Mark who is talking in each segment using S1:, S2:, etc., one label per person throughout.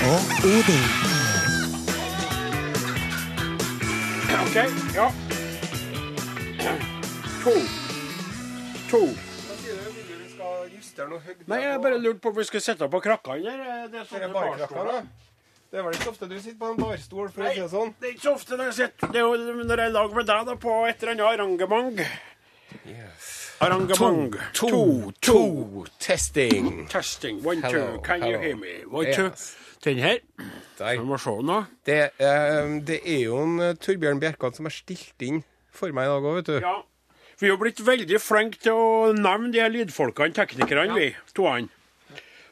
S1: Odin.
S2: OK. Ja. To. To. Nei, jeg bare lurte på om vi skulle sitte på krakkene eller Det er
S3: Det er
S2: sånne
S3: barkrakker,
S2: barstoler.
S3: da. Det er vel ikke så ofte du sitter på en barstol, for å
S2: Nei,
S3: si det sånn.
S2: det er ikke så ofte når jeg sitter det er jo når jeg er i lag med deg da, på et eller annet arrangement. Arrangement.
S4: To, to, testing.
S2: Testing. One,
S4: Hello,
S2: two. Can you
S4: hello.
S2: hear me? One, two.
S4: Yes.
S2: Den her.
S4: Der.
S2: Vi må se nå.
S3: Det, eh, det er jo en eh, Torbjørn Bjerkan som har stilt inn for meg i dag òg, vet du.
S2: Ja. Vi har blitt veldig flinke til å nevne de her lydfolkene, teknikerne, vi toene.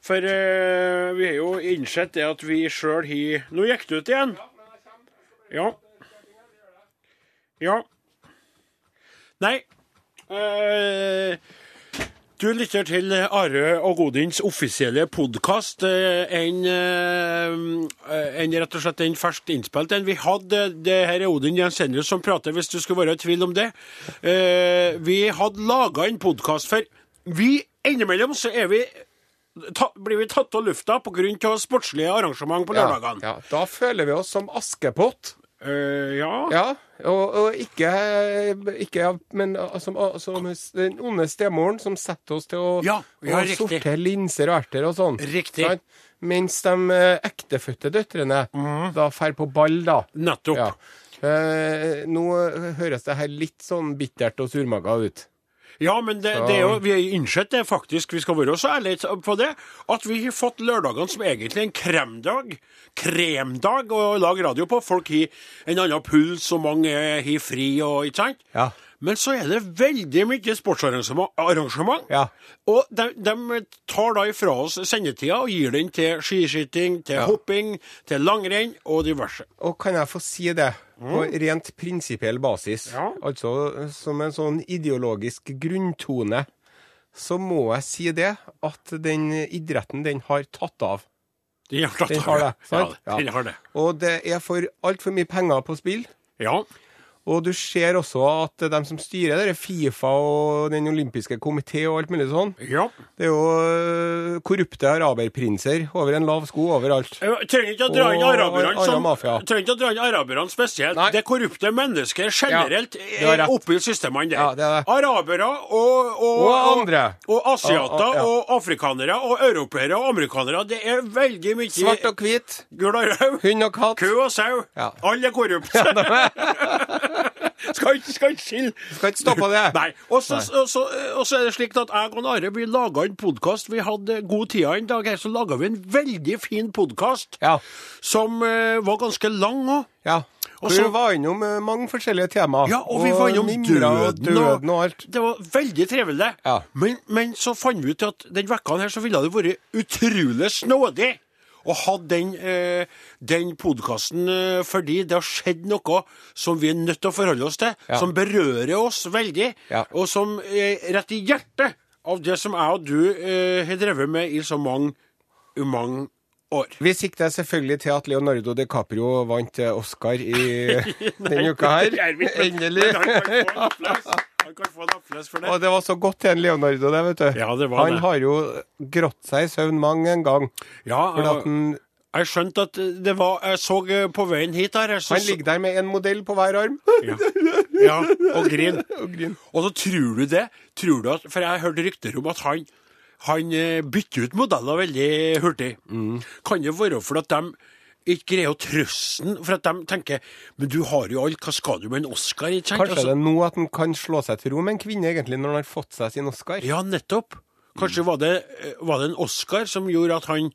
S2: For eh, vi har jo innsett det at vi sjøl har Nå gikk det ut igjen. Ja. Ja. Nei. Eh, du lytter til Are og Godins offisielle podkast. En, eh, en rett og slett en ferskt innspilt en. Vi hadde det her er Odin Jensenius som prater, hvis du skulle være i tvil om det. Eh, Vi hadde laga en podkast, for vi innimellom så er vi ta, blir vi tatt av lufta pga. sportslige arrangement på lørdagene.
S3: ja. Da føler vi oss som Askepott.
S2: Eh, ja.
S3: Ja, og, og ikke, ikke av- men av- som, av- som den onde stemoren som setter oss til å,
S2: Ja, ja,
S3: å
S2: riktig.
S3: sortere linser og erter og sånn.
S2: Riktig.
S3: Sant? Mens de eh, ektefødte døtrene
S2: Mhm.
S3: da drar på ball, da.
S2: Nettopp.
S3: Ja. Eh, nå høres det her litt sånn bittert og surmaga ut.
S2: Ja, men det, det er jo, vi har innsett det faktisk, vi skal være så ærlige på det, at vi har fått lørdagene som egentlig en kremdag, kremdag å lage radio på. Folk har en annen puls, og mange har fri og ikke sant?
S3: Ja.
S2: Men så er det veldig mye sportsarrangement, arrangement,
S3: Ja.
S2: og de, de tar da ifra oss sendetida og gir den til skiskyting, til hopping, til langrenn og diverse.
S3: Og kan jeg få si det på rent prinsipiell basis,
S2: Ja.
S3: altså som en sånn ideologisk grunntone, så må jeg si det at den idretten, den har tatt av.
S2: Den har, tatt
S3: Den har det,
S2: av.
S3: sant?
S2: Ja, den har det.
S3: Og det er for altfor mye penger på spill.
S2: Ja.
S3: Og du ser også at de som styrer det, er Fifa og Den olympiske komité og alt mulig sånn.
S2: ja.
S3: Det er jo øh, korrupte araberprinser over en lav sko overalt.
S2: Jeg Eh, trenger ikke å dra inn
S3: Og
S2: araberne som,
S3: annen mafia.
S2: trenger ikke å dra inn araberne spesielt.
S3: Nei.
S2: Det korrupte mennesket generelt
S3: har
S2: er
S3: rett.
S2: oppe i systemene der.
S3: Ja, det er det.
S2: Arabere og, og,
S3: Og andre.
S2: Og, og asiater
S3: Og- og- ja.
S2: og afrikanere og europeere og amerikanere. Det er veldig mye
S3: Svart og hvit,
S2: gul og rød.
S3: hund og katt.
S2: Ku og sau.
S3: Ja.
S2: Alle er korrupte. skal ikke skal ikke skille.
S3: Skal ikke stå på det.
S2: Nei. Og så og så- og så er det slik at jeg og Are vi laga en podkast. Vi hadde god tid en dag her, så laga vi en veldig fin podkast
S3: Ja.
S2: som eh, var ganske lang òg.
S3: Ja.
S2: Og
S3: Og
S2: så-
S3: så var innom eh, mange forskjellige temaer.
S2: Ja, og vi var innom
S3: mimra og
S2: døden og-
S3: døden og alt.
S2: Det var veldig trivelig.
S3: Ja.
S2: Men, men så fant vi ut at den vekka her så ville det vært utrolig snådig å ha den, eh, den podkasten eh, fordi det har skjedd noe som vi er nødt til å forholde oss til,
S3: Ja.
S2: som berører oss veldig,
S3: Ja.
S2: og som eh, rett i hjertet av det som jeg og du eh, har drevet med i så mange, mange år.
S3: Vi sikter selvfølgelig til at Leonardo DiCaprio vant eh, Oscar i denne uka
S2: Det er
S3: her.
S2: vi ikke, men-
S3: Endelig.
S2: men Han kan få en applaus. Han kan få en applaus for det.
S3: Og det var så godt til en Leonardo, det, vet du.
S2: Ja, det var
S3: han
S2: det.
S3: har jo grått seg i søvn mang en gang.
S2: Ja,
S3: Fordi at han,
S2: Jeg skjønte at det var Jeg så eh, på veien hit her jeg så,
S3: han ligger der med en modell på hver arm.
S2: ja, og grin.
S3: Og grin.
S2: Og så tror du det. Tror du at, for jeg hørte rykter om at han, han eh, bytter ut modeller veldig hurtig.
S3: Mm.
S2: Kan det være for at de ikke greier å trøste han? For at de tenker Men du har jo alt, hva skal du med en Oscar? Ikke sant? Altså,
S3: Kanskje det er nå at han kan slå seg til ro med en kvinne, egentlig, når han har fått seg sin Oscar.
S2: Ja, nettopp. Kanskje var, det, eh, var det en Oscar som gjorde at han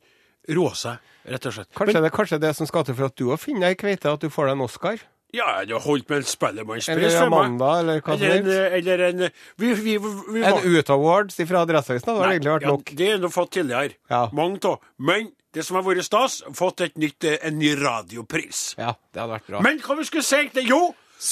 S2: roa seg, rett og slett.
S3: Kanskje det kanskje det som skal til for at du òg finner deg ei kveite, at du får deg en Oscar?
S2: Ja, du har holdt med en spellemannspris
S3: Eller
S2: for meg.
S3: Amanda, eller hva som
S2: Eller en,
S3: helst.
S2: eller en vi, vi, vi, vi
S3: En Ut-awards fra Adresseavisen hadde
S2: Nei,
S3: egentlig vært
S2: ja,
S3: nok.
S2: Det er nå fått tidligere.
S3: Ja.
S2: Mange av. Men det som har vært stas, fått et nytt, eh, en ny radiopris.
S3: Ja, det hadde vært bra.
S2: Men hva vi skulle si det? Jo!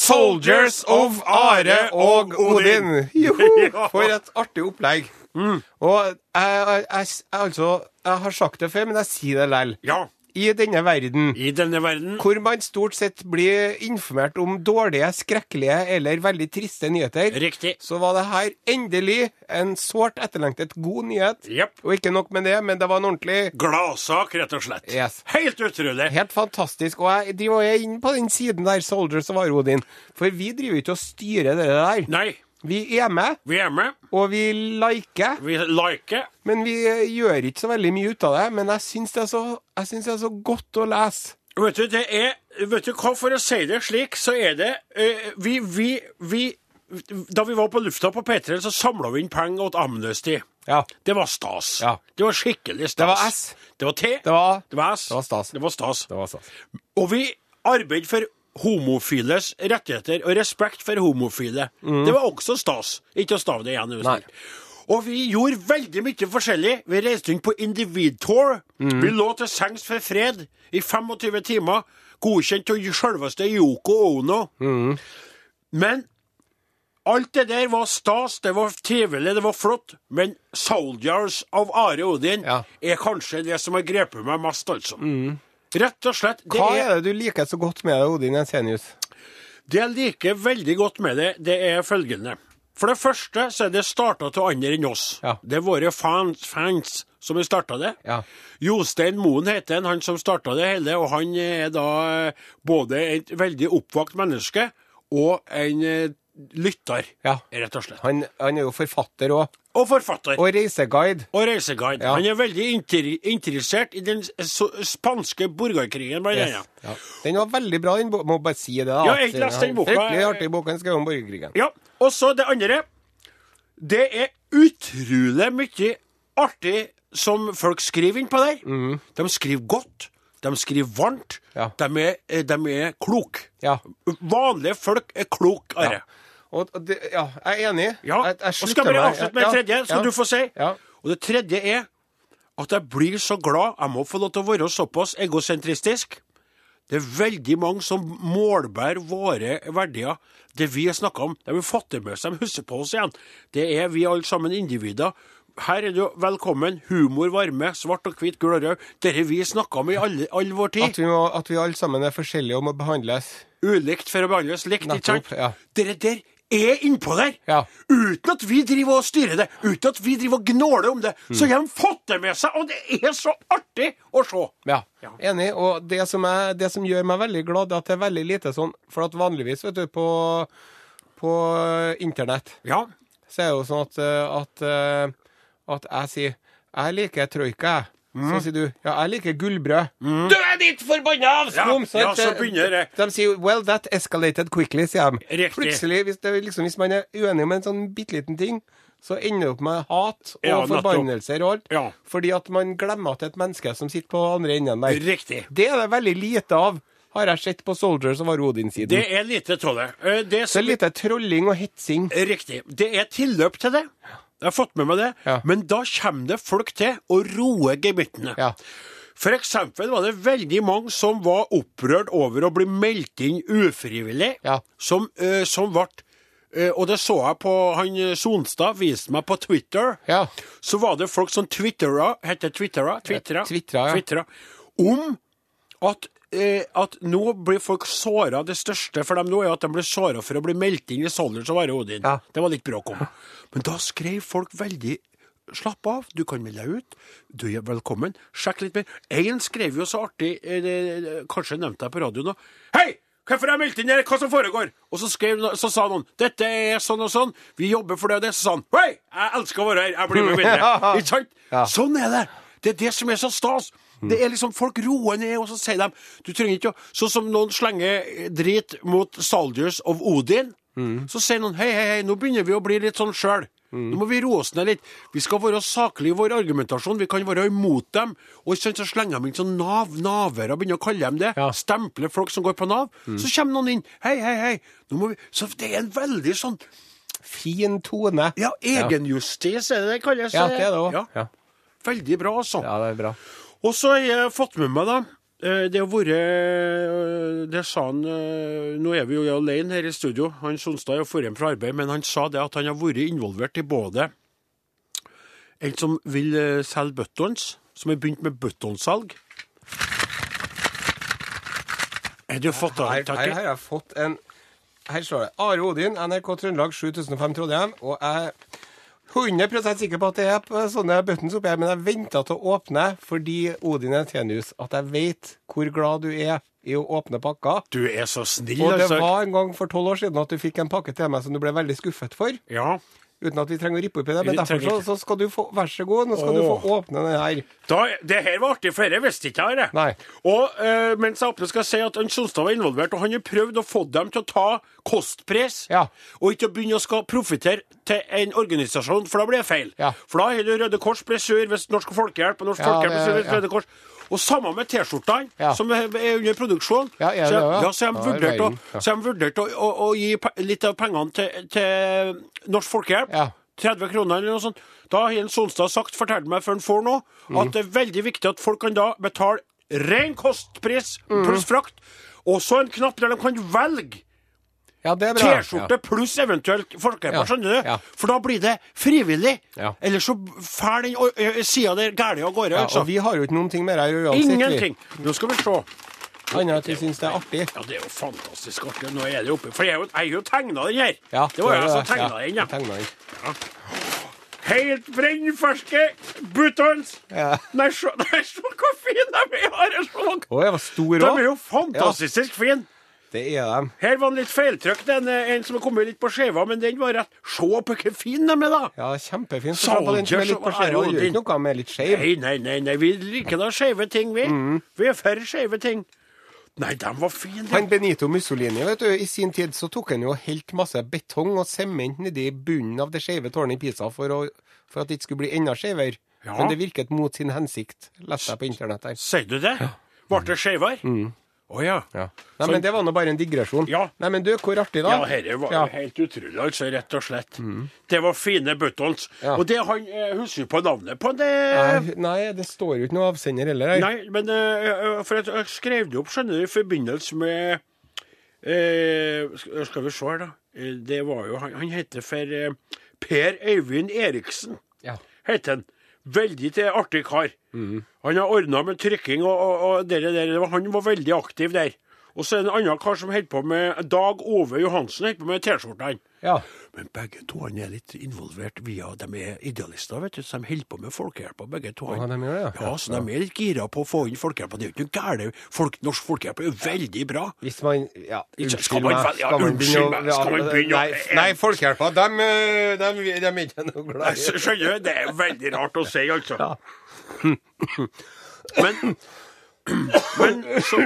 S3: Soldiers of Are og Odin! Joho!
S2: Ja.
S3: For et artig opplegg. Og jeg, jeg, jeg, altså, jeg har sagt det før, men jeg sier det likevel.
S2: Ja.
S3: i denne verden
S2: I denne verden
S3: hvor man stort sett blir informert om dårlige, skrekkelige eller veldig triste nyheter.
S2: Riktig.
S3: Så var det her endelig en sårt etterlengtet god nyhet.
S2: Jepp.
S3: Og ikke nok med det, men det var en ordentlig
S2: Gladsak, rett og slett.
S3: Yes.
S2: Helt utrolig.
S3: Helt fantastisk. Og jeg driver og er inne på den siden der, Soldiers of Odin. For vi driver jo ikke og styrer det der.
S2: Nei,
S3: Vi er med,
S2: vi er med.
S3: og vi liker.
S2: Vi liker.
S3: Men vi gjør ikke så veldig mye ut av det. Men jeg syns det, er så- jeg syns det er så godt å lese.
S2: Vet du, det er, vet du hva, for å si det slik, så er det eh, vi, vi, vi Da vi var på lufta på P3, så samla vi inn penger til Amnesty.
S3: Ja.
S2: Det var stas.
S3: Ja.
S2: Det var skikkelig stas.
S3: Det var S.
S2: Det var T.
S3: Det var
S2: Det var S.
S3: Det var stas.
S2: Det var stas.
S3: Det var stas.
S2: Og vi arbeider for homofiles rettigheter og respekt for homofile. Det var også stas. Ikke å stave det igjen. er du
S3: Mhm. Nei.
S2: snill. Og vi gjorde veldig mye forskjellig. Vi reiste rundt på individtour.
S3: Mhm.
S2: Vi lå til sengs for fred i 25 timer, godkjent av selveste Yoko Ono.
S3: Mhm.
S2: Men alt det der var stas, det var trivelig, det var flott. Men 'Soldiers' av Are Odin
S3: Ja. Mhm.
S2: er kanskje det som har grepet meg mest, altså. Rett og slett. det
S3: Hva er det du liker så godt med det, Odin Jensenius?
S2: Det jeg liker veldig godt med det, det er følgende. For det første så er det starta av andre enn oss.
S3: Ja.
S2: Det er våre fans, fans som har starta det.
S3: Ja.
S2: Jostein Moen heter han, han som starta det hele, og han er da eh, både et veldig oppvakt menneske og en eh, lytter,
S3: Ja.
S2: rett og slett.
S3: Han, han er jo forfatter òg.
S2: Og forfatter.
S3: Og reiseguide.
S2: Og reiseguide.
S3: Ja.
S2: Han er veldig inter interessert i den s- so- spanske borgerkrigen, blant
S3: Yes.
S2: annet.
S3: Ja. Den var veldig bra, den boka. Må bare si det, da.
S2: Ja, jeg leste den boka.
S3: Fryktelig artig bok. Han skrev om borgerkrigen.
S2: Ja, og så det andre. Det er utrolig mye artig som folk skriver innpå der. De skriver godt, de skriver varmt,
S3: Ja.
S2: de er, eh, de er kloke.
S3: Ja.
S2: Vanlige folk er kloke, Are.
S3: Og, og det, ja, jeg er enig.
S2: Ja.
S3: Jeg, jeg
S2: og
S3: slutter
S2: skal bare
S3: meg.
S2: avslutte med det tredje, skal
S3: ja.
S2: du få si.
S3: Ja.
S2: Og det tredje er at jeg blir så glad. Jeg må få lov til å være såpass egosentristisk. Det er veldig mange som målbærer våre verdier. Det vi har snakka om, de vil fatte med seg, de husker på oss igjen. Det er vi alle sammen individer. Her er du velkommen. Humor, varme, svart og hvit, gul og rød. Dette vi snakka om i alle- all vår tid.
S3: At vi, må, at vi alle sammen er forskjellige og må behandles
S2: Ulikt for å behandles likt, ikke sant?
S3: Nettopp, ja.
S2: Dere der er innpå der!
S3: Ja.
S2: Uten at vi driver og styrer det, uten at vi driver og gnåler om det.
S3: Mm.
S2: Så de fått det med seg, og det er så artig å se!
S3: Ja,
S2: Ja.
S3: enig. Og det som, er, det som gjør meg veldig glad, det er at det er veldig lite sånn For at vanligvis, vet du, på, på eh, internett
S2: Ja.
S3: så er det jo sånn at, eh, at, eh, at jeg sier 'Jeg liker troika', jeg. Så sier du 'Ja, jeg liker gullbrød'. Du er ditt forbanna avskum!
S2: Mm. Ja, ja, så begynner det.
S3: eh, De sier 'Well, that escalated quickly', sier de.
S2: Riktig.
S3: Plutselig, hvis, det, er liksom, hvis man er uenig om en sånn bitte liten ting, så ender det opp med hat og
S2: Ja, nettopp.
S3: forbannelser og alt.
S2: Ja.
S3: Fordi at man glemmer at det er et menneske som sitter på andre enden der.
S2: Riktig.
S3: Det er det veldig lite av, har jeg sett på Soldiers som var
S2: Det
S3: Odin-siden. Det,
S2: er lite av det. Eh, Det
S3: er
S2: som
S3: lite trolling og hetsing.
S2: Riktig. Det er tilløp til det. Jeg har fått med meg det.
S3: Ja.
S2: Men da kommer det folk til å roe gemyttene.
S3: Ja.
S2: For eksempel var det veldig mange som var opprørt over å bli meldt inn ufrivillig,
S3: Ja.
S2: som, eh, som ble eh, Og det så jeg på han eh, Sonstad viste meg på Twitter.
S3: Ja.
S2: Så var det folk som twittra, heter twittra, twittra,
S3: Ja, twittra, ja.
S2: twittra om at eh, at nå blir folk såra. Det største for dem nå er at de blir såra for å bli meldt inn i Soldiers og være Odin.
S3: Ja.
S2: Det var litt bråk om. Men da skrev folk veldig Slapp av, du kan melde deg ut. Du er velkommen. Sjekk litt mer. Én skrev jo så artig eh, det- det- Kanskje jeg nevnte deg på radioen nå. Hei! Hvorfor har jeg meldt inn her? Hva som foregår? Og så, skrev, så sa noen dette er sånn og sånn, vi jobber for det og det. Så sa han hei, jeg elsker å være her, jeg blir med videre. Ikke sant?
S3: Ja.
S2: Sånn er det. Det er det som er så stas. Det er liksom Folk roer ned, og så sier de Du trenger ikke å Sånn som noen slenger eh, drit mot Soldiers of Odin,
S3: Mm.
S2: så sier noen hei, hei, hei, nå begynner vi å bli litt sånn sjøl. Nå må vi roe oss ned litt. Vi skal være saklige i vår argumentasjon. Vi kan være imot dem. Og sånn så slenger de inn sånn nav, navere, begynner å kalle dem det.
S3: Ja. Mm.
S2: Stemple folk som går på Nav. Så kommer noen inn. Hei, hei, hei. Nå må vi Så det er en veldig sånn
S3: Fin tone.
S2: Ja, egenjustis er det det kalles.
S3: Ja, det er det òg.
S2: Ja.
S3: Ja.
S2: Veldig bra, altså.
S3: ja, det er bra.
S2: Og så har jeg fått med meg, da eh, Det har vært eh, Det sa han eh, Nå er vi jo alene her i studio. Han Sonstad er jo forhjem fra arbeid, men han sa det at han har vært involvert i både en som vil eh, selge buttons, som har begynt med buttonsalg. Er du fått
S3: Her,
S2: tak
S3: her, her
S2: i
S3: har jeg fått en Her står det Are Odin, NRK Trøndelag 7005 Trondheim. Og jeg er 100 sikker på at det er på sånne buttons oppi her, men jeg venter til å åpne fordi Odin er tjenus. At jeg vet hvor glad du er i å åpne pakker.
S2: Du er så snill,
S3: Og det
S2: altså.
S3: var en gang for tolv år siden at du fikk en pakke til meg som du ble veldig skuffet for.
S2: Ja.
S3: Uten at vi trenger å rippe opp i det, men
S2: Vi
S3: derfor så,
S2: trenger ikke.
S3: så skal du få Vær så god, nå skal du få åpne den her.
S2: Da, det her var artig, for dette visste ikke jeg. det.
S3: Nei.
S2: Og eh, mens jeg åpner, skal jeg si at Ørn Sonstad var involvert, og han har prøvd å få dem til å ta kostpris,
S3: Ja.
S2: og ikke å begynne å skal profitere til en organisasjon, for da blir det feil.
S3: Ja.
S2: For da heller Røde Kors blir sur hvis Norsk Folkehjelp og Norsk
S3: Ja,
S2: Folkehjelp blir sur
S3: det-
S2: hvis
S3: ja.
S2: Røde Kors Og samme med T-skjortene,
S3: Ja.
S2: som er er under produksjon.
S3: Ja, er det
S2: så,
S3: det, ja?
S2: ja, så
S3: Ja,
S2: de
S3: det er
S2: vurderte å,
S3: veien, ja.
S2: så de vurderte å, å, å gi pe- litt av pengene til, til Norsk Folkehjelp.
S3: Ja.
S2: 30 kroner eller noe sånt. Da har Jens Sonstad sagt, fortalte meg før han får nå,
S3: Mm.
S2: at det er veldig viktig at folk kan da betale ren kostpris
S3: Mm.
S2: pluss frakt, og så en knapp der de kan velge
S3: Ja, det er bra.
S2: T-skjorte pluss eventuelt folkehjelper,
S3: Ja,
S2: skjønner du?
S3: ja.
S2: For da blir det frivillig.
S3: Ja.
S2: Ellers så fær den ø- ø- sida der gærent av gårde.
S3: Ja,
S2: altså.
S3: og vi har jo ikke noen ting med deg å gjøre uansett. vi.
S2: Ingenting. Nå skal vi se.
S3: Annet at vi syns det er artig.
S2: Ja, det er jo fantastisk artig. Nå er det oppe. For jeg er jo- jeg har jo tegna den her.
S3: Ja,
S2: det var
S3: er
S2: jeg som
S3: det.
S2: tegna den,
S3: ja.
S2: ja.
S3: tegnet den.
S2: Helt brennferske buttons.
S3: Ja.
S2: Nei, se, nei, se hvor fine de er! Are Skjåk.
S3: Å, jeg var stor
S2: De
S3: òg.
S2: er jo fantastisk fine!
S3: Det er dem.
S2: Her var en litt feiltrykk, den eh, en som har kommet litt på skjeva, men den var rett. Se på hvor fin de er, da!
S3: Ja, kjempefint. Så
S2: Soldiers
S3: på den som er litt
S2: og
S3: på skjeva,
S2: Are
S3: og gjør
S2: Odin.
S3: ikke noe med litt skeiv.
S2: Nei, nei, nei, nei. vi liker da skeive ting, vi.
S3: Mm.
S2: Vi er for skeive ting. Nei, de var fine.
S3: Han
S2: de.
S3: Benito Mussolini, vet du, i sin tid så tok han jo og helt masse betong og sement nedi bunnen av det skeive tårnet i Pisa for, å, for at det ikke skulle bli enda skeivere.
S2: Ja.
S3: Men det virket mot sin hensikt, leste jeg på internett her.
S2: Sier du det? Ble det skeivere? Å ja.
S3: Mm. Ja. Nei, men det var nå bare en digresjon.
S2: Ja.
S3: Nei, men du, hvor artig, da?
S2: Ja, dette var
S3: Ja. Mm.
S2: jo helt utrolig, altså, rett og slett. Det var fine buttons.
S3: Ja.
S2: Og det han eh, husker på navnet på det
S3: Nei, Nei, det står jo ikke noe avsender heller her.
S2: Nei, men eh, eh, for at jeg skrev det opp skjønner du, i forbindelse med eh, sk- Skal vi se her, da. Eh, Det var jo Han, han heter for eh, Per Øyvind Eriksen.
S3: Ja. Mm.
S2: Heter han. Veldig til artig kar. Han har ordna med trykking og, og, og det der. det var- Han var veldig aktiv der. Og så er det en annen kar som holder på med Dag Ove Johansen holder på med T-skjortene.
S3: Ja.
S2: Men begge to han er litt involvert via De er idealister, vet du. Så de holder på med folkehjelpa, begge to.
S3: Ja, de gjør det, ja.
S2: ja, så de er litt gira på å få inn folkehjelpa. Det er jo ikke noe gærent. Folk, norsk folkehjelp er jo veldig bra.
S3: Hvis man Ja,
S2: Ikke-
S3: unnskyld
S2: skal man
S3: meg.
S2: vel- ja, unnskyld meg, skal man begynne å-
S3: Nei, nei Folkehjelpa, dem, eh, dem, dem er ikke noe
S2: Jeg
S3: glad i.
S2: s- Skjønner du? Det er veldig rart å si, altså. Men men så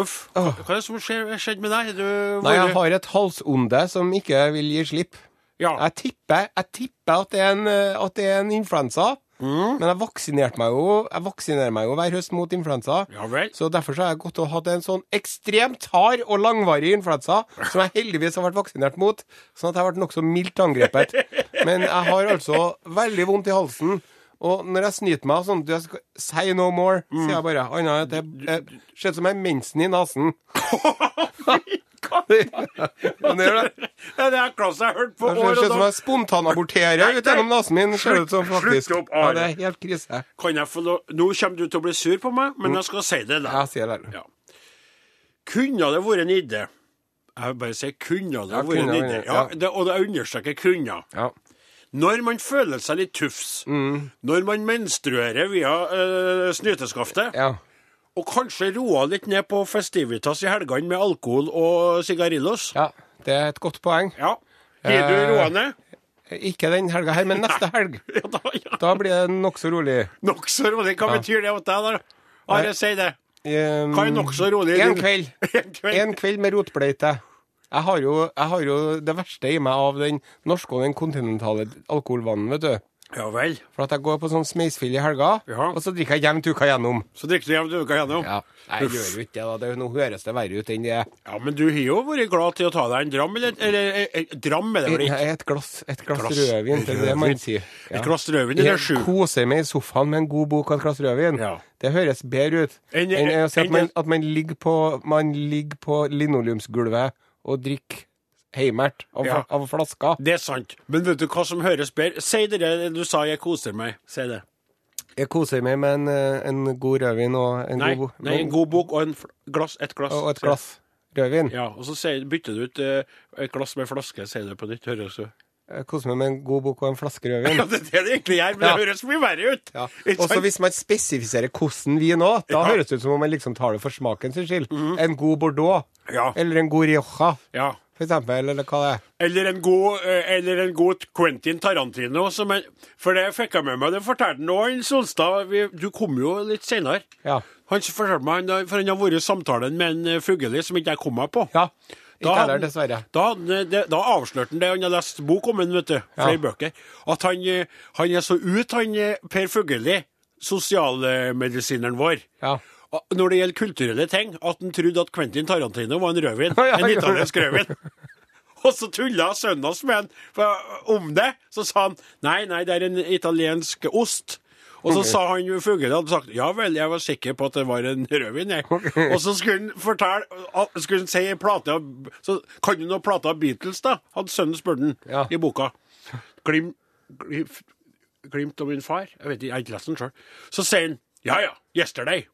S2: Uff. Hva hva er det som skjer- skjedde med deg? Du
S3: Nei,
S2: bare-
S3: jeg har et halsonde som ikke vil gi slipp.
S2: ja.
S3: Jeg tipper, jeg tipper at, det er en, eh, at det er en influensa.
S2: Mm.
S3: Men jeg vaksinerte meg jo Jeg vaksinerer meg jo hver høst mot influensa.
S2: ja vel.
S3: Så derfor så har jeg gått og hatt en sånn ekstremt hard og langvarig influensa, som jeg heldigvis har vært vaksinert mot, sånn at jeg har vært nokså mildt angrepet. Men jeg har altså veldig vondt i halsen. Og når jeg snyter meg og sånn du, jeg skal, Say no more, sier
S2: Mm.
S3: jeg bare. Annet enn at det eh, ser ut som en mensen i nesen. Men det gjør det.
S2: Ja, Det er klasse jeg har hørt på
S3: Det ser
S2: år og
S3: ut som
S2: dag.
S3: jeg spontanaborterer ut gjennom nesen min. Ser det ut som faktisk.
S2: Slutt opp,
S3: Ja,
S2: Are.
S3: det er helt krise.
S2: Kan jeg få lov Nå kommer du til å bli sur på meg,
S3: Mm.
S2: men jeg skal si det. da.
S3: Jeg sier det.
S2: Ja. Kunne det vært en idé? Jeg vil bare si kunne det
S3: Ja,
S2: vært en
S3: kunne,
S2: idé.
S3: ja.
S2: Ja, det, og jeg understreker kunne.
S3: Ja.
S2: Når man føler seg litt tufs,
S3: Mm.
S2: når man menstruerer via eh, snyteskaftet,
S3: ja.
S2: og kanskje roer litt ned på festivitas i helgene med alkohol og sigarillos
S3: ja. Det er et godt poeng.
S2: Ja. Gir du
S3: Eh.
S2: roa ned?
S3: Ikke den helga her, men neste helg.
S2: Ja, da, ja.
S3: Da blir det nokså rolig.
S2: Nokså rolig. Hva betyr det for deg, da? Are, si det.
S3: Um,
S2: Hva er nokså rolig?
S3: Eh. En kveld.
S2: En kveld.
S3: En kveld med rotbleite. Jeg har, jo, jeg har jo det verste i meg av den norske og den kontinentale alkoholvanen, vet du.
S2: Ja vel.
S3: For at jeg går på sånn smeisfyll i helga,
S2: Ja.
S3: og så drikker jeg jevnt uka gjennom.
S2: Så drikker du jevnt uka gjennom.
S3: Ja, Nei, jeg gjør jo ikke det, da. Det er jo- nå høres det verre ut enn det er.
S2: Ja, men du har jo vært glad til å ta deg en dram, eller, eller eh, eh, Dram er det vel
S3: Et,
S2: ikke?
S3: nei, et glass, et glass,
S2: Glass
S3: rødvin, det er det man
S2: rødvin.
S3: sier. Ja.
S2: Et glass rødvin eller
S3: Jeg
S2: sju?
S3: Koser meg i sofaen med en god bok og et glass rødvin.
S2: Ja.
S3: Det høres bedre ut
S2: Enn-
S3: enn å si
S2: enn-
S3: at, man, at man, ligger på, man ligger på linoleumsgulvet og drikker heimert av,
S2: Ja.
S3: av flaska.
S2: Det er sant. Men vet du hva som høres bedre? Si det der du sa 'jeg koser meg'. Si det.
S3: Jeg koser meg med en, eh, en god rødvin og en
S2: Nei,
S3: god,
S2: nei en god bok og en fl- glass, et glass.
S3: og et
S2: sier jeg.
S3: glass rødvin.
S2: Ja, og så sier, bytter du ut eh, et glass med flaske, sier du på nytt. Høres du?
S3: Jeg koser meg med en god bok og en flaske rødvin.
S2: Ja, det er det det egentlig gjør, men
S3: Ja.
S2: det høres mye verre ut.
S3: Ja.
S2: Ikke
S3: Og så
S2: sant?
S3: hvis man spesifiserer hvordan vin òg, da
S2: Ja. Mhm.
S3: høres det ut som om man liksom tar det for smaken sin skyld. En god Bordeaux,
S2: Ja.
S3: eller en god Rioja,
S2: ja.
S3: for eksempel, eller hva det er.
S2: Eller en god, eh, eller en god Quentin Tarantino. Som en, for det fikk jeg med meg. Det fortalte nå han Solstad. Vi, du kom jo litt senere.
S3: Ja.
S2: Han fortalte meg, han- for han har vært i samtalen med en eh, fugli som ikke jeg kom meg på.
S3: Ja. Ikke
S2: hadde
S3: heller,
S2: han-
S3: dessverre.
S2: Da, hadde han eh, det, da avslørte han det han hadde lest bok om, han, vet du, flere bøker, at han, eh, han er så ut, han eh, Per Fugelli, sosialmedisineren vår.
S3: Ja.
S2: Og Ah, Når det gjelder kulturelle ting, at han trodde at Quentin Tarantino var en rødvin.
S3: Ja,
S2: En
S3: ja.
S2: italiensk rødvin. Og så tulla sønnen hans med han for- eh, om det. Så sa han nei, nei, det er en italiensk ost. Og så sa han jo Fugelli hadde sagt ja vel, jeg var sikker på at det var en rødvin, jeg. Og så skulle han fortelle ah, Skulle han si en plate av Så kan du noe plate av Beatles, da? Hadde sønnen spurt han
S3: Ja.
S2: i boka. Glim, glif- glimt av min far? Jeg vet ikke, jeg har ikke lest den sjøl. Så sier han ja ja, 'Yesterday'.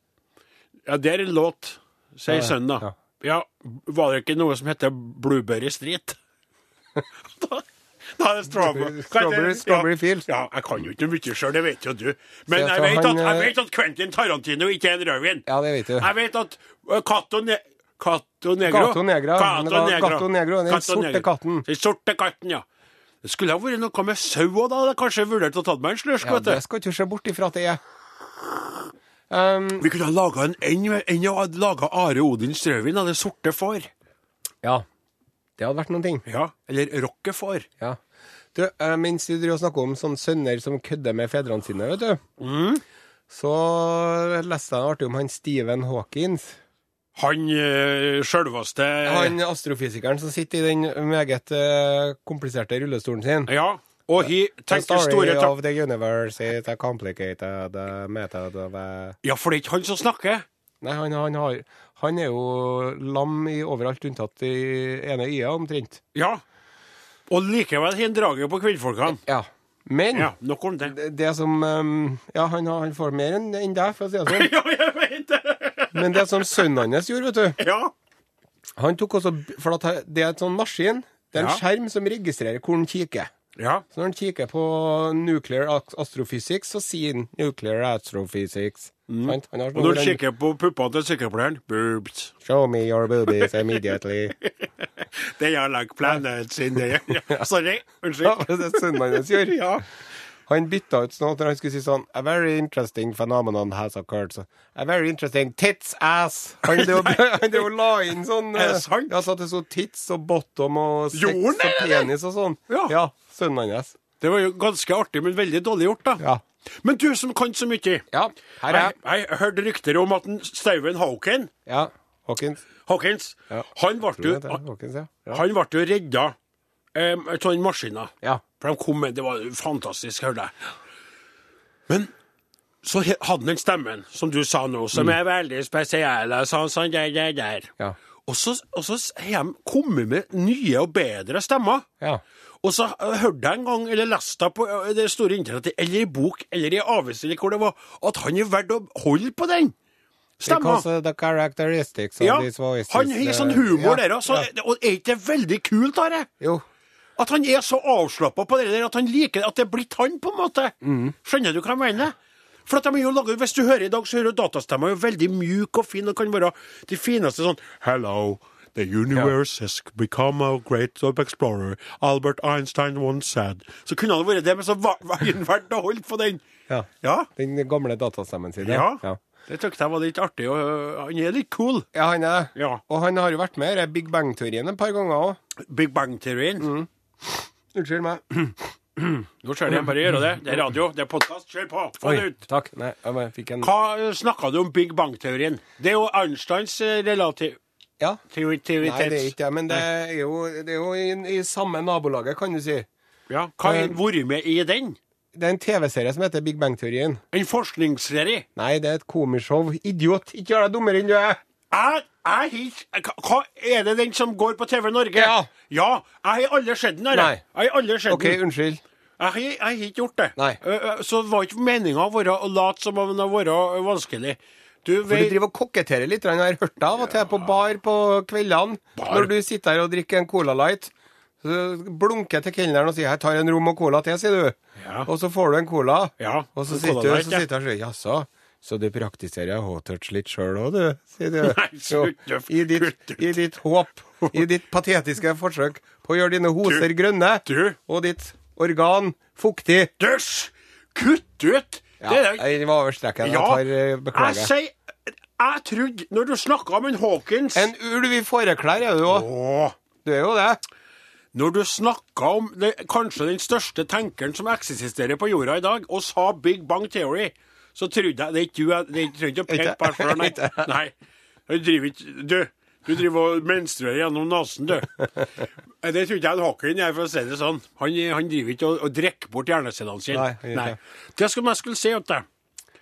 S2: Ja, det er en låt, sier sønnen da. Ja. var det ikke noe som heter Blueberry Street? da, da er det strawberry,
S3: Strawberry- Strawberry
S2: ja.
S3: Fields.
S2: Ja, jeg kan jo ikke mye sjøl, det vet jo du. Men
S3: Så jeg
S2: jeg,
S3: tror
S2: vet at,
S3: han,
S2: jeg
S3: eh,
S2: vet at Quentin Tarantino ikke er en rødvin.
S3: Ja, det vet du.
S2: Jeg vet at eh, Cato ne Cato Negro
S3: Gato Negra, men det var Gato Negro, den sorte
S2: Negro.
S3: katten.
S2: Den sorte katten, ja. Det skulle ha vært noe med sau òg, da. Hadde jeg kanskje vurdert å ta meg en slurk.
S3: Ja,
S2: vet du.
S3: det skal du ikke se bort ifra at det er. Um,
S2: Vi kunne ha laga en eng med enn å ha laga Are Odins rødvin av det sorte får.
S3: ja. Det hadde vært noen ting.
S2: Ja. Eller rockefår.
S3: Ja. Du, eh, mens vi driver og snakker om sånne sønner som kødder med fedrene sine, vet du,
S2: Mhm.
S3: så leste jeg artig om han Stephen Hawkins.
S2: Han øh, sjølveste
S3: Han astrofysikeren som sitter i den meget eh, kompliserte rullestolen sin.
S2: Ja. Og he
S3: The
S2: tenker
S3: story
S2: store tanker
S3: of the universe is a complicated uh, method of uh,
S2: Ja, for det er ikke han som snakker.
S3: Nei, han, han, har, han er jo lam i overalt unntatt i ene øya, omtrent.
S2: Ja. Og likevel har han draget på kvinnfolkene.
S3: Ja. Men
S2: Ja, nok om det.
S3: det, det som um, Ja, han, har- han får mer enn enn deg, for å si det sånn.
S2: Ja, jeg vet det!
S3: Men det som sønnen hans gjorde, vet du
S2: Ja.
S3: Han tok også, for at he- Det er en sånn maskin, det er en
S2: Ja.
S3: skjerm som registrerer hvor han kikker.
S2: Ja.
S3: Så når han kikker på nuclear a- astrophysics, så sier han 'nuclear astrophysics'. Sant? Han har
S2: Mm. Og når
S3: sånn-
S2: du kikker på puppene til sykepleieren Boobs.
S3: Show me your boobies immediately.
S2: They are like planets in the ja. Sorry.
S3: Ja,
S2: Unnskyld.
S3: det er sønnen hans gjør.
S2: Ja.
S3: Han bytta ut sånn at han skulle si sånn A very interesting phenomenon has occurred. Så, A very interesting tits ass. Han drev og- han drev og la inn sånn
S2: Er det
S3: eh,
S2: sant?
S3: Ja, så at det sto tits og bottom og sex
S2: Gjorde
S3: og
S2: han det, eller?
S3: penis og sånn.
S2: Ja.
S3: ja sønnen hans.
S2: Det var jo ganske artig, men veldig dårlig gjort, da.
S3: Ja.
S2: Men du som kan så mye.
S3: Ja, her er
S2: Jeg, jeg hørte rykter om at en Steven Hawken
S3: Ja, Hawkins.
S2: Hawkins, han ble
S3: Tror jeg det
S2: jo
S3: er Hawkins, ja. Ja.
S2: Han ble jo redda um, av den maskina.
S3: Ja.
S2: For de kom med, Det var fantastisk, hørte jeg. Men så he- hadde han den stemmen, som du sa nå, som er veldig spesiell. og Sånn, sånn, der, der, der.
S3: Mm. Ja.
S2: Og så, og så s- har de kommet med nye og bedre stemmer.
S3: Ja.
S2: Og så eh, hørte jeg en gang, eller leste jeg på eh, det store internettet, eller i bok, eller i avis, eller hvor det var, at han er verdt å holde på den stemma.
S3: Because uh, the characteristics of
S2: Ja,
S3: these voices
S2: han har sånn
S3: uh,
S2: humor
S3: ja,
S2: der også,
S3: ja.
S2: og er ikke det veldig kult, Are?
S3: Jo.
S2: At han er så avslappa på det der, at han liker at det er blitt han, på en måte. Skjønner du hva jeg mener? For at de er jo laget, Hvis du hører i dag, så hører du datastemma jo veldig mjuk og fin, og kan være de fineste sånn Hello, the universe has become a great explorer. Albert Einstein once said Så kunne han vært det, men så var var han verdt å holde på den.
S3: Ja.
S2: Ja.
S3: Den gamle datastemmen sin.
S2: ja.
S3: ja.
S2: Det syntes jeg var litt artig. Og øh, han er litt cool.
S3: Ja, han er det.
S2: Ja.
S3: Og han har jo vært med i Big Bang-teorien et par ganger òg.
S2: Big Bang-teorien.
S3: Unnskyld meg.
S2: Nå ser jeg bare gjøre det. Det er radio, det er podkast. Kjør på! Få det ut!
S3: Takk. Nei, jeg bare fikk en
S2: Hva snakka du om Big Bang-teorien? Det er jo Einsteins eh, relativitet.
S3: Ja. Nei, det er ikke det, men det er jo, det er jo i, i samme nabolaget, kan du si.
S2: Ja, Hva har vært med i den?
S3: Det er en TV-serie som heter Big Bang-teorien.
S2: En forskningsserie?
S3: Nei, det er et komishow. Idiot! Ikke gjør deg dummere enn du er!
S2: Jeg, jeg, har ikke- hva er det den som går på TV Norge?
S3: Ja.
S2: ja jeg har aldri sett den. Are.
S3: Nei.
S2: Jeg har aldri sett
S3: OK,
S2: den.
S3: unnskyld.
S2: Jeg har jeg har ikke gjort det.
S3: Nei.
S2: Eh, eh, Så det var ikke meninga å være- å late som om det har vært eh, vanskelig. Du
S3: For du
S2: vet
S3: driver og koketterer litt, jeg har hørt deg av og til på bar på kveldene. Når du sitter her og drikker en Cola Light, så blunker jeg til kelneren og sier 'jeg tar en rom og cola til', sier du.
S2: Ja.
S3: Og så får du en cola,
S2: Ja,
S3: og så
S2: en
S3: sitter
S2: Cola
S3: du og
S2: Light,
S3: så
S2: ja.
S3: sitter jeg og sier 'jaså'. Så du praktiserer H-touch litt sjøl òg, du? sier du.
S2: Nei, slutt,
S3: Jo,
S2: Jeff.
S3: i, ditt,
S2: Kutt ut.
S3: I ditt håp, i ditt patetiske forsøk på å gjøre dine hoser
S2: Du,
S3: grønne,
S2: du.
S3: og ditt organ fuktig.
S2: Døsj! Kutt ut!
S3: Ja,
S2: det er jo
S3: jeg var over streken. Jeg tar eh,
S2: Jeg
S3: Beklager.
S2: sier Jeg trodde Når du snakka om en Hawkins
S3: En ulv i fåreklær er du òg.
S2: Åh,
S3: Du er jo det.
S2: Når du snakka om det, kanskje den største tenkeren som eksisterer på jorda i dag, og sa Big Bang Theory, så trodde jeg Det er ikke du jeg det er ikke- trenger ikke å peke på deg sjøl, nei. nei. Du driver ikke Du. Du driver og menstruerer gjennom nesen, du. Det tror ikke jeg er en Hawking er, for å si det sånn. Han, han driver ikke og, og drikker bort hjernecellene sine.
S3: Nei, han gjør ikke det.
S2: Det skulle jeg skulle si til deg.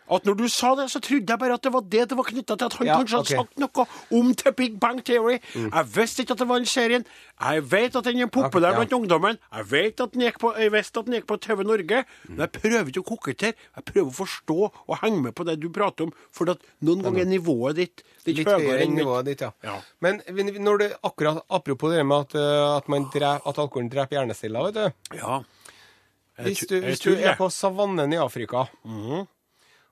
S2: At når du sa det, så trodde jeg bare at det var det det var knytta til at han
S3: Ja,
S2: kanskje hadde
S3: ok.
S2: sagt noe om til Big Bang Theory.
S3: Mm.
S2: Jeg visste ikke at det var den serien. Jeg vet at den er populær
S3: Ja.
S2: blant ungdommen. Jeg vet at den gikk på, jeg visste at den gikk på TV Norge. Men
S3: Mm.
S2: jeg prøver ikke å kokettere. Jeg prøver å forstå og henge med på det du prater om. For at noen ganger er nivået ditt litt,
S3: Litt
S2: høyere enn mitt.
S3: nivået ditt, ja.
S2: Ja.
S3: Men vi- når det akkurat apropos det med at, eh, at, man drep, at alkoholen dreper hjerneceller, vet du.
S2: Ja. Jeg
S3: Hvis
S2: tu-
S3: du,
S2: jeg
S3: hvis du
S2: tror
S3: er
S2: det. Mhm.
S3: på savannen i Afrika,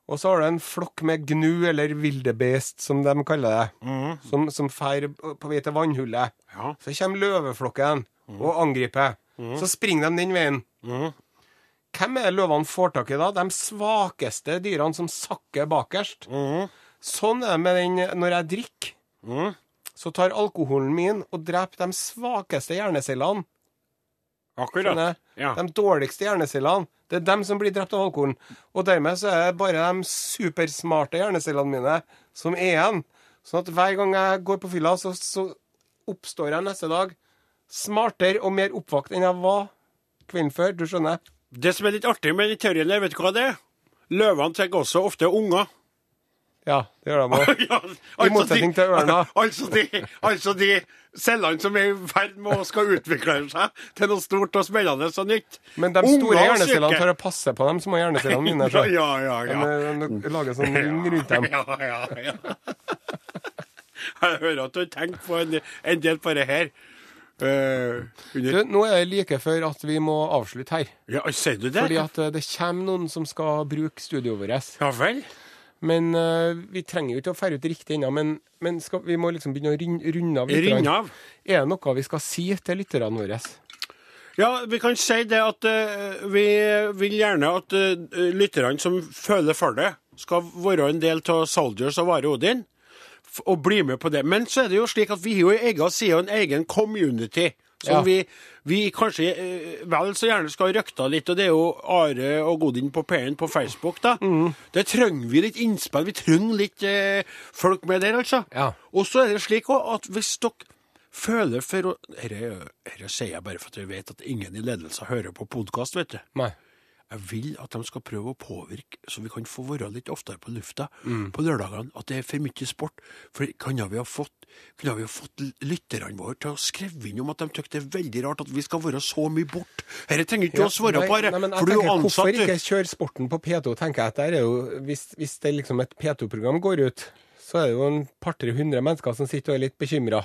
S3: og så har du en flokk med gnu eller vildebeest, som de kaller det,
S2: Mhm.
S3: som, som fer på vei til vannhullet,
S2: Ja.
S3: så kommer løveflokken og angriper. Så springer de den veien. Hvem er det løvene får tak i da? De svakeste dyrene som sakker bakerst. Sånn er det med den når jeg drikker.
S2: Mm,
S3: Så tar alkoholen min og dreper de svakeste hjernecellene.
S2: Akkurat.
S3: Skjønner jeg?
S2: Ja.
S3: De dårligste hjernecellene. Det er dem som blir drept av alkoholen. Og dermed så er det bare de supersmarte hjernecellene mine som er igjen. Sånn at hver gang jeg går på fylla, så, så oppstår jeg neste dag smartere og mer oppvakt enn jeg var kvelden før. Du skjønner?
S2: Det som er litt artig med den teorien der, vet du hva det er? Løvene tar også ofte unger.
S3: Ja, det gjør de òg.
S2: Ja, altså
S3: motsetning
S2: de-
S3: til ørna.
S2: Altså de, altså de cellene som er i ferd med å skal utvikle seg til noe stort og spennende og nytt.
S3: Men de
S2: Unger
S3: store
S2: og
S3: hjernecellene
S2: syke.
S3: tar og passer på de små hjernecellene mine. så.
S2: Ja, ja,
S3: De,
S2: ja.
S3: eh, de lager sånn ring rundt dem.
S2: Ja, ja, ja. Jeg hører at du tenker på en, en del på det her. Eh,
S3: Du,
S2: under,
S3: nå er det like før at vi må avslutte her.
S2: ja, sier du det?
S3: Fordi at eh, det kommer noen som skal bruke studioet vårt.
S2: Ja vel?
S3: Men eh, vi trenger jo ikke å ferde ut riktig ennå, men, men skal, vi må liksom begynne å ryn- runde av litt.
S2: Rinn
S3: grann.
S2: av.
S3: Er det noe vi skal si til lytterne våre?
S2: Ja, vi kan si det at eh, vi vil gjerne at eh, lytterne som føler for det, skal være en del av Soldiers og Vare Odin, f- og bli med på det. Men så er det jo slik at vi har jo en egen side og en egen community. Som
S3: Ja.
S2: vi, vi kanskje eh, vel så gjerne skal røkta litt, og det er jo Are og Godin på P1 på Facebook, da. Der trenger vi litt innspill, vi trenger litt eh, folk med der, altså.
S3: Ja.
S2: Og så er det slik også at hvis dere føler for å Dette dette sier jeg bare for at jeg vet at ingen i ledelsen hører på podkast, vet du.
S3: Nei.
S2: Jeg vil at de skal prøve å påvirke, så vi kan få være litt oftere på lufta
S3: Mm.
S2: på lørdagene. At det er for mye sport. For kan vi ha fått, kunne vi ha fått lytterne våre til å skrive inn om at de syns det er veldig rart at vi skal være så mye bort? Dette trenger ikke du å svare
S3: Nei,
S2: på, Are,
S3: nei, men jeg
S2: for du er jo
S3: tenker,
S2: ansatt,
S3: Hvorfor ikke
S2: du.
S3: kjøre sporten på P2? tenker jeg at der er jo, Hvis, hvis det liksom et P2-program går ut, så er det jo en par-tre hundre mennesker som sitter og er litt bekymra.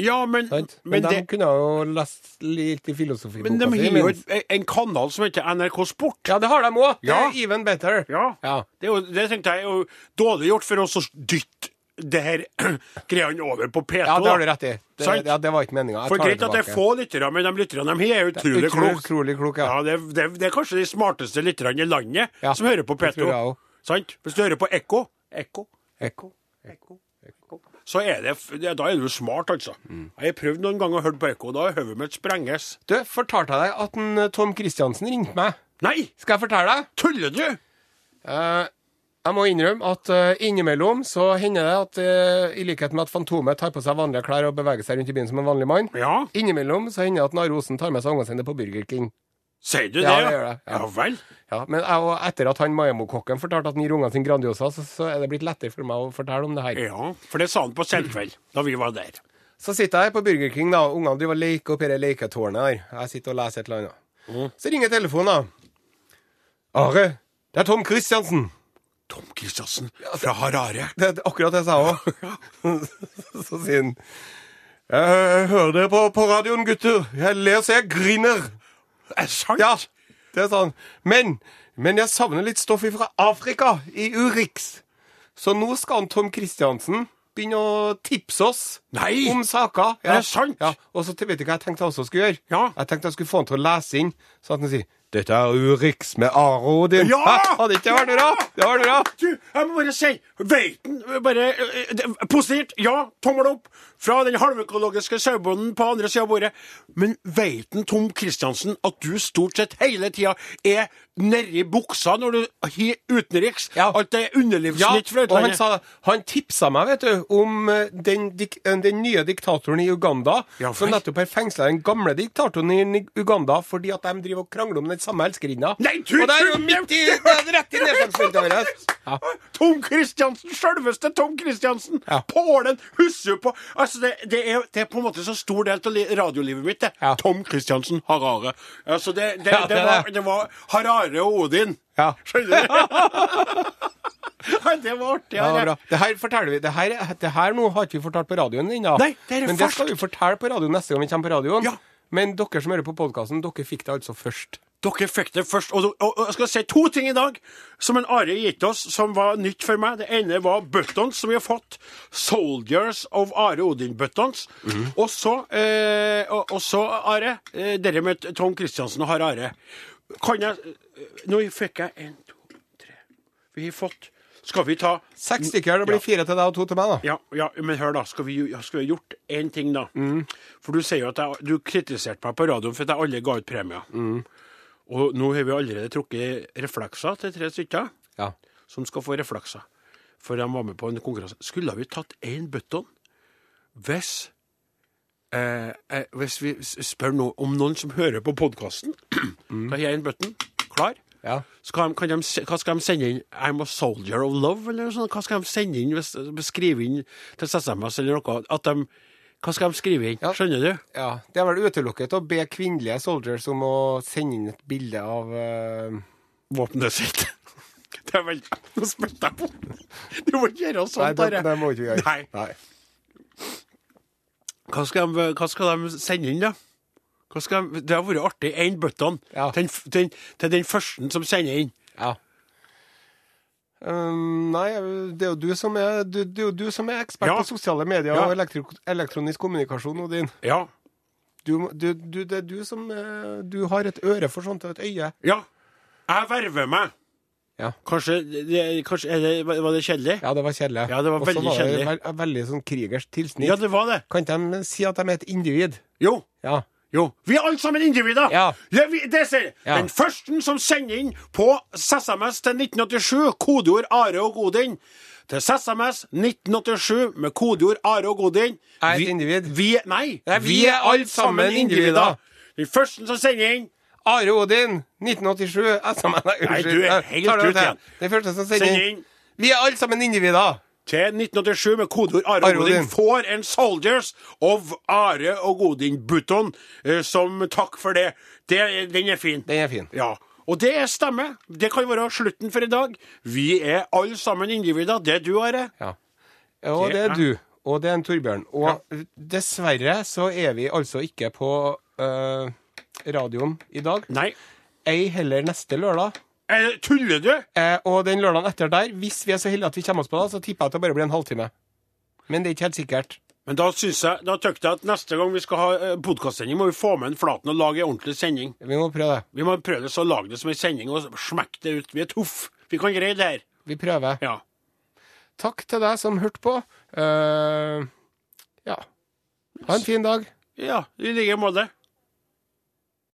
S2: Ja, men,
S3: Men,
S2: men,
S3: de
S2: det,
S3: kunne jo lest litt i filosofiboka
S2: men de
S3: si,
S2: har
S3: men-
S2: jo et- en kanal som heter NRK Sport.
S3: Ja, det har de òg! Det
S2: Ja.
S3: er even better.
S2: Ja.
S3: Ja.
S2: Det, er jo, det tenkte jeg er jo dårlig gjort for oss å dytte det her greiene over på P2.
S3: Ja, det har du
S2: da.
S3: rett i. Det,
S2: Sant.
S3: ja, det var ikke meninga.
S2: For greit at det er få lyttere, men de lytterne de har, er utrolig
S3: Utrolig-
S2: kloke.
S3: utrolig klok, ja.
S2: Ja, det, er- det, er- det er kanskje de smarteste lytterne i landet
S3: Ja,
S2: som hører på
S3: det tror jeg
S2: P2.
S3: også.
S2: Sant? Hvis du hører på Ekko, Ekko,
S3: Ekko.
S2: så er det, f- ja, da er du smart, altså.
S3: Mm.
S2: Jeg har prøvd noen ganger å høre på Ekko, da er hodet mitt sprenges.
S3: Du, fortalte jeg deg at en eh, Tom Kristiansen ringte meg?
S2: Nei!
S3: Skal jeg fortelle deg?
S2: Tuller du?!
S3: Eh, jeg må innrømme at eh, innimellom så hender det at eh, i likhet med at Fantomet tar på seg vanlige klær og beveger seg rundt i byen som en vanlig mann,
S2: Ja,
S3: innimellom så hender det at Nare Osen tar med seg ungene sine på Burger King.
S2: sier du det?
S3: Ja, det gjør jeg, ja.
S2: Ja vel.
S3: Ja, men jeg, og etter at han Mayamo-kokken fortalte at han gir ungene sine Grandiosa, så, så er det blitt lettere for meg å fortelle om det her.
S2: Ja, for det sa han på selvkveld, da vi var der.
S3: Så sitter jeg på Burger King, da, og ungene driver og leker oppi det leketårnet her. Jeg sitter og leser et eller annet. Så ringer telefonen, da. Are, det er Tom Christiansen.
S2: Tom Kristiansen fra Harare.
S3: Det er akkurat det jeg sa òg. Så sier han Jeg hører det på, på radioen, gutter. Jeg ler så jeg griner.
S2: Er det sant?
S3: Ja, det sa han. Men, men jeg savner litt stoff fra Afrika, i Urix. Så nå skal han Tom Kristiansen begynne å tipse oss
S2: Nei!
S3: om saker.
S2: Er det sant?
S3: Ja, og så vet du hva jeg tenkte jeg også skulle gjøre?
S2: Ja.
S3: Jeg tenkte jeg skulle få han til å lese inn, sånn at han sier dette er Urix med Aro og din.
S2: Ja!
S3: Hæ? Hadde ikke det vært bra? Det var bra.
S2: Du, jeg må bare si Veiten bare eh, det- Positivt. Ja, tommel opp fra den halvøkologiske sauebonden på andre sida av bordet. Men veiten, Tom Kristiansen, at du stort sett hele tida er nedi buksa når du har utenriks?
S3: Ja.
S2: At det er underlivsnytt fra
S3: og han,
S2: utlandet?
S3: sa, han tipsa meg vet du, om eh, den, dik eh, den nye diktatoren i Uganda,
S2: Ja,
S3: som
S2: vel.
S3: nettopp har fengsla den gamle diktatoren i Ni- Uganda fordi at de driver og krangler om den samme elskerinna.
S2: Nei, du
S3: og det er jo
S2: tuller!
S3: midt i, det er rett i nedslagsfeltet vårt. Ja.
S2: Tom Kristiansen, sjølveste Tom Kristiansen!
S3: Ja.
S2: Pålen! Husker på Altså, det, det, er, det er på en måte så stor del av li- radiolivet mitt, det.
S3: Ja.
S2: Tom Kristiansen Harare. Altså, det, det,
S3: Ja,
S2: det,
S3: det er
S2: var,
S3: det.
S2: det var Harare og Odin.
S3: Ja.
S2: Skjønner du? Nei, det var artig.
S3: Ja, det var
S2: det.
S3: bra. Det her forteller vi. Det her, det her nå har ikke vi fortalt på radioen ennå.
S2: Nei, det er
S3: Men det
S2: ferskt.
S3: skal vi fortelle på radioen neste gang vi kommer på radioen.
S2: Ja.
S3: Men dere som hører på podkasten, dere fikk det altså først.
S2: Dere fikk det først. Og, og, og jeg skal si to ting i dag som en Are gitt oss, som var nytt for meg. Det ene var buttons, som vi har fått. Soldiers of Are Odin-buttons. Og så, eh, og, og så, Are, eh, dere med Tom Kristiansen og Harare. Kan jeg eh, Nå fikk jeg en, to, tre Vi har fått Skal vi ta
S3: Seks stykker.
S2: Ja.
S3: Det blir fire til deg og to til meg, da.
S2: ja, ja, men hør da, skal vi, jo- skal vi ha gjort én ting da? For du sier jo at jeg, du kritiserte meg på radioen for at jeg aldri ga ut premier. Og nå har vi allerede trukket reflekser til tre stykker,
S3: Ja.
S2: som skal få reflekser. For de var med på en konkurranse. Skulle vi tatt én button hvis eh, eh, Hvis vi s- spør no, om noen som hører på podkasten, da har jeg en button klar.
S3: Ja.
S2: Skal de, kan de, se- hva skal de sende inn? I'm a soldier of love, eller noe sånt? Hva skal de sende inn hvis de skriver inn til SMS eller noe? At de, hva skal de skrive inn?
S3: Ja.
S2: Skjønner du?
S3: Ja, Det er vel utelukket å be kvinnelige soldiers om å sende inn et bilde av eh,
S2: Våpenet sitt. Det er vel Nå spytter jeg på! Du må ikke gjøre
S3: Nei,
S2: sånt,
S3: det,
S2: Are.
S3: det må ikke vi gjøre.
S2: Nei. Hva skal, de, hva skal de sende inn, da? Hva skal de, det har vært artig. Én button
S3: Ja.
S2: til, den f- til, den- til den første som sender inn.
S3: Ja. Um, nei, det er jo du som er, du, det er jo du som er ekspert
S2: Ja.
S3: på sosiale medier
S2: Ja.
S3: og elektro, elektronisk kommunikasjon, Odin.
S2: Ja.
S3: Du, må- du, du, det er du som eh, Du har et øre for sånt og et øye.
S2: Ja. Jeg verver meg.
S3: Ja.
S2: Kanskje, det, kanskje er det, Var det kjedelig?
S3: Ja, det var kjedelig.
S2: Ja, det var
S3: Og så
S2: veldig
S3: var det
S2: kjedelig.
S3: vel- veldig sånn krigersk tilsnitt.
S2: Ja, det var det.
S3: Kan ikke de si at de er et individ?
S2: Jo.
S3: Ja.
S2: Jo. Vi er alle sammen individer.
S3: Ja.
S2: Det, vi, det sier jeg.
S3: Ja.
S2: Den første som sender inn på SMS til 1987, kodeord Are og Godin, til SMS 1987 med kodeord Are og Godin
S3: Er et
S2: vi-
S3: individ.
S2: Vi, nei,
S3: Nei, vi er alle sammen individer.
S2: Den første som sender inn,
S3: Are Odin, 1987 SMS, nei,
S2: Nei,
S3: unnskyld.
S2: du er
S3: Nei,
S2: helt
S3: tar det
S2: ute igjen.
S3: til. Den første som sender
S2: sender
S3: inn.
S2: inn
S3: Vi er alle sammen individer.
S2: til 1987 med kodeord Are og
S3: Are og
S2: Godin
S3: Odin.
S2: får en Soldiers of Are og Godin-button eh, som takk for det. det. Den er fin.
S3: Den er fin.
S2: Ja. Og det stemmer. Det kan være slutten for i dag. Vi er alle sammen individer. Det er du, Are.
S3: Ja. Og
S2: Det
S3: det er
S2: er-
S3: du. Og det er en Torbjørn. Og dessverre så er vi altså ikke på eh, radioen i dag.
S2: Nei.
S3: Ei heller neste lørdag.
S2: Eh, tuller du?
S3: Eh, og den lørdagen etter der, hvis vi er så heldige at vi kommer oss på det, så tipper jeg at det bare blir en halvtime. Men det er ikke helt sikkert.
S2: Men da syns jeg da tykte jeg at neste gang vi skal ha eh, podkastsending, må vi få med en Flaten og lage en ordentlig sending.
S3: Vi må prøve det.
S2: Vi må prøve det så lage det som en sending og smekke det ut. Vi er tuffe. Vi kan greie det her.
S3: Vi prøver.
S2: Ja.
S3: Takk til deg som hørte på. Eh, ja. Ha en fin dag.
S2: Ja, i like måte.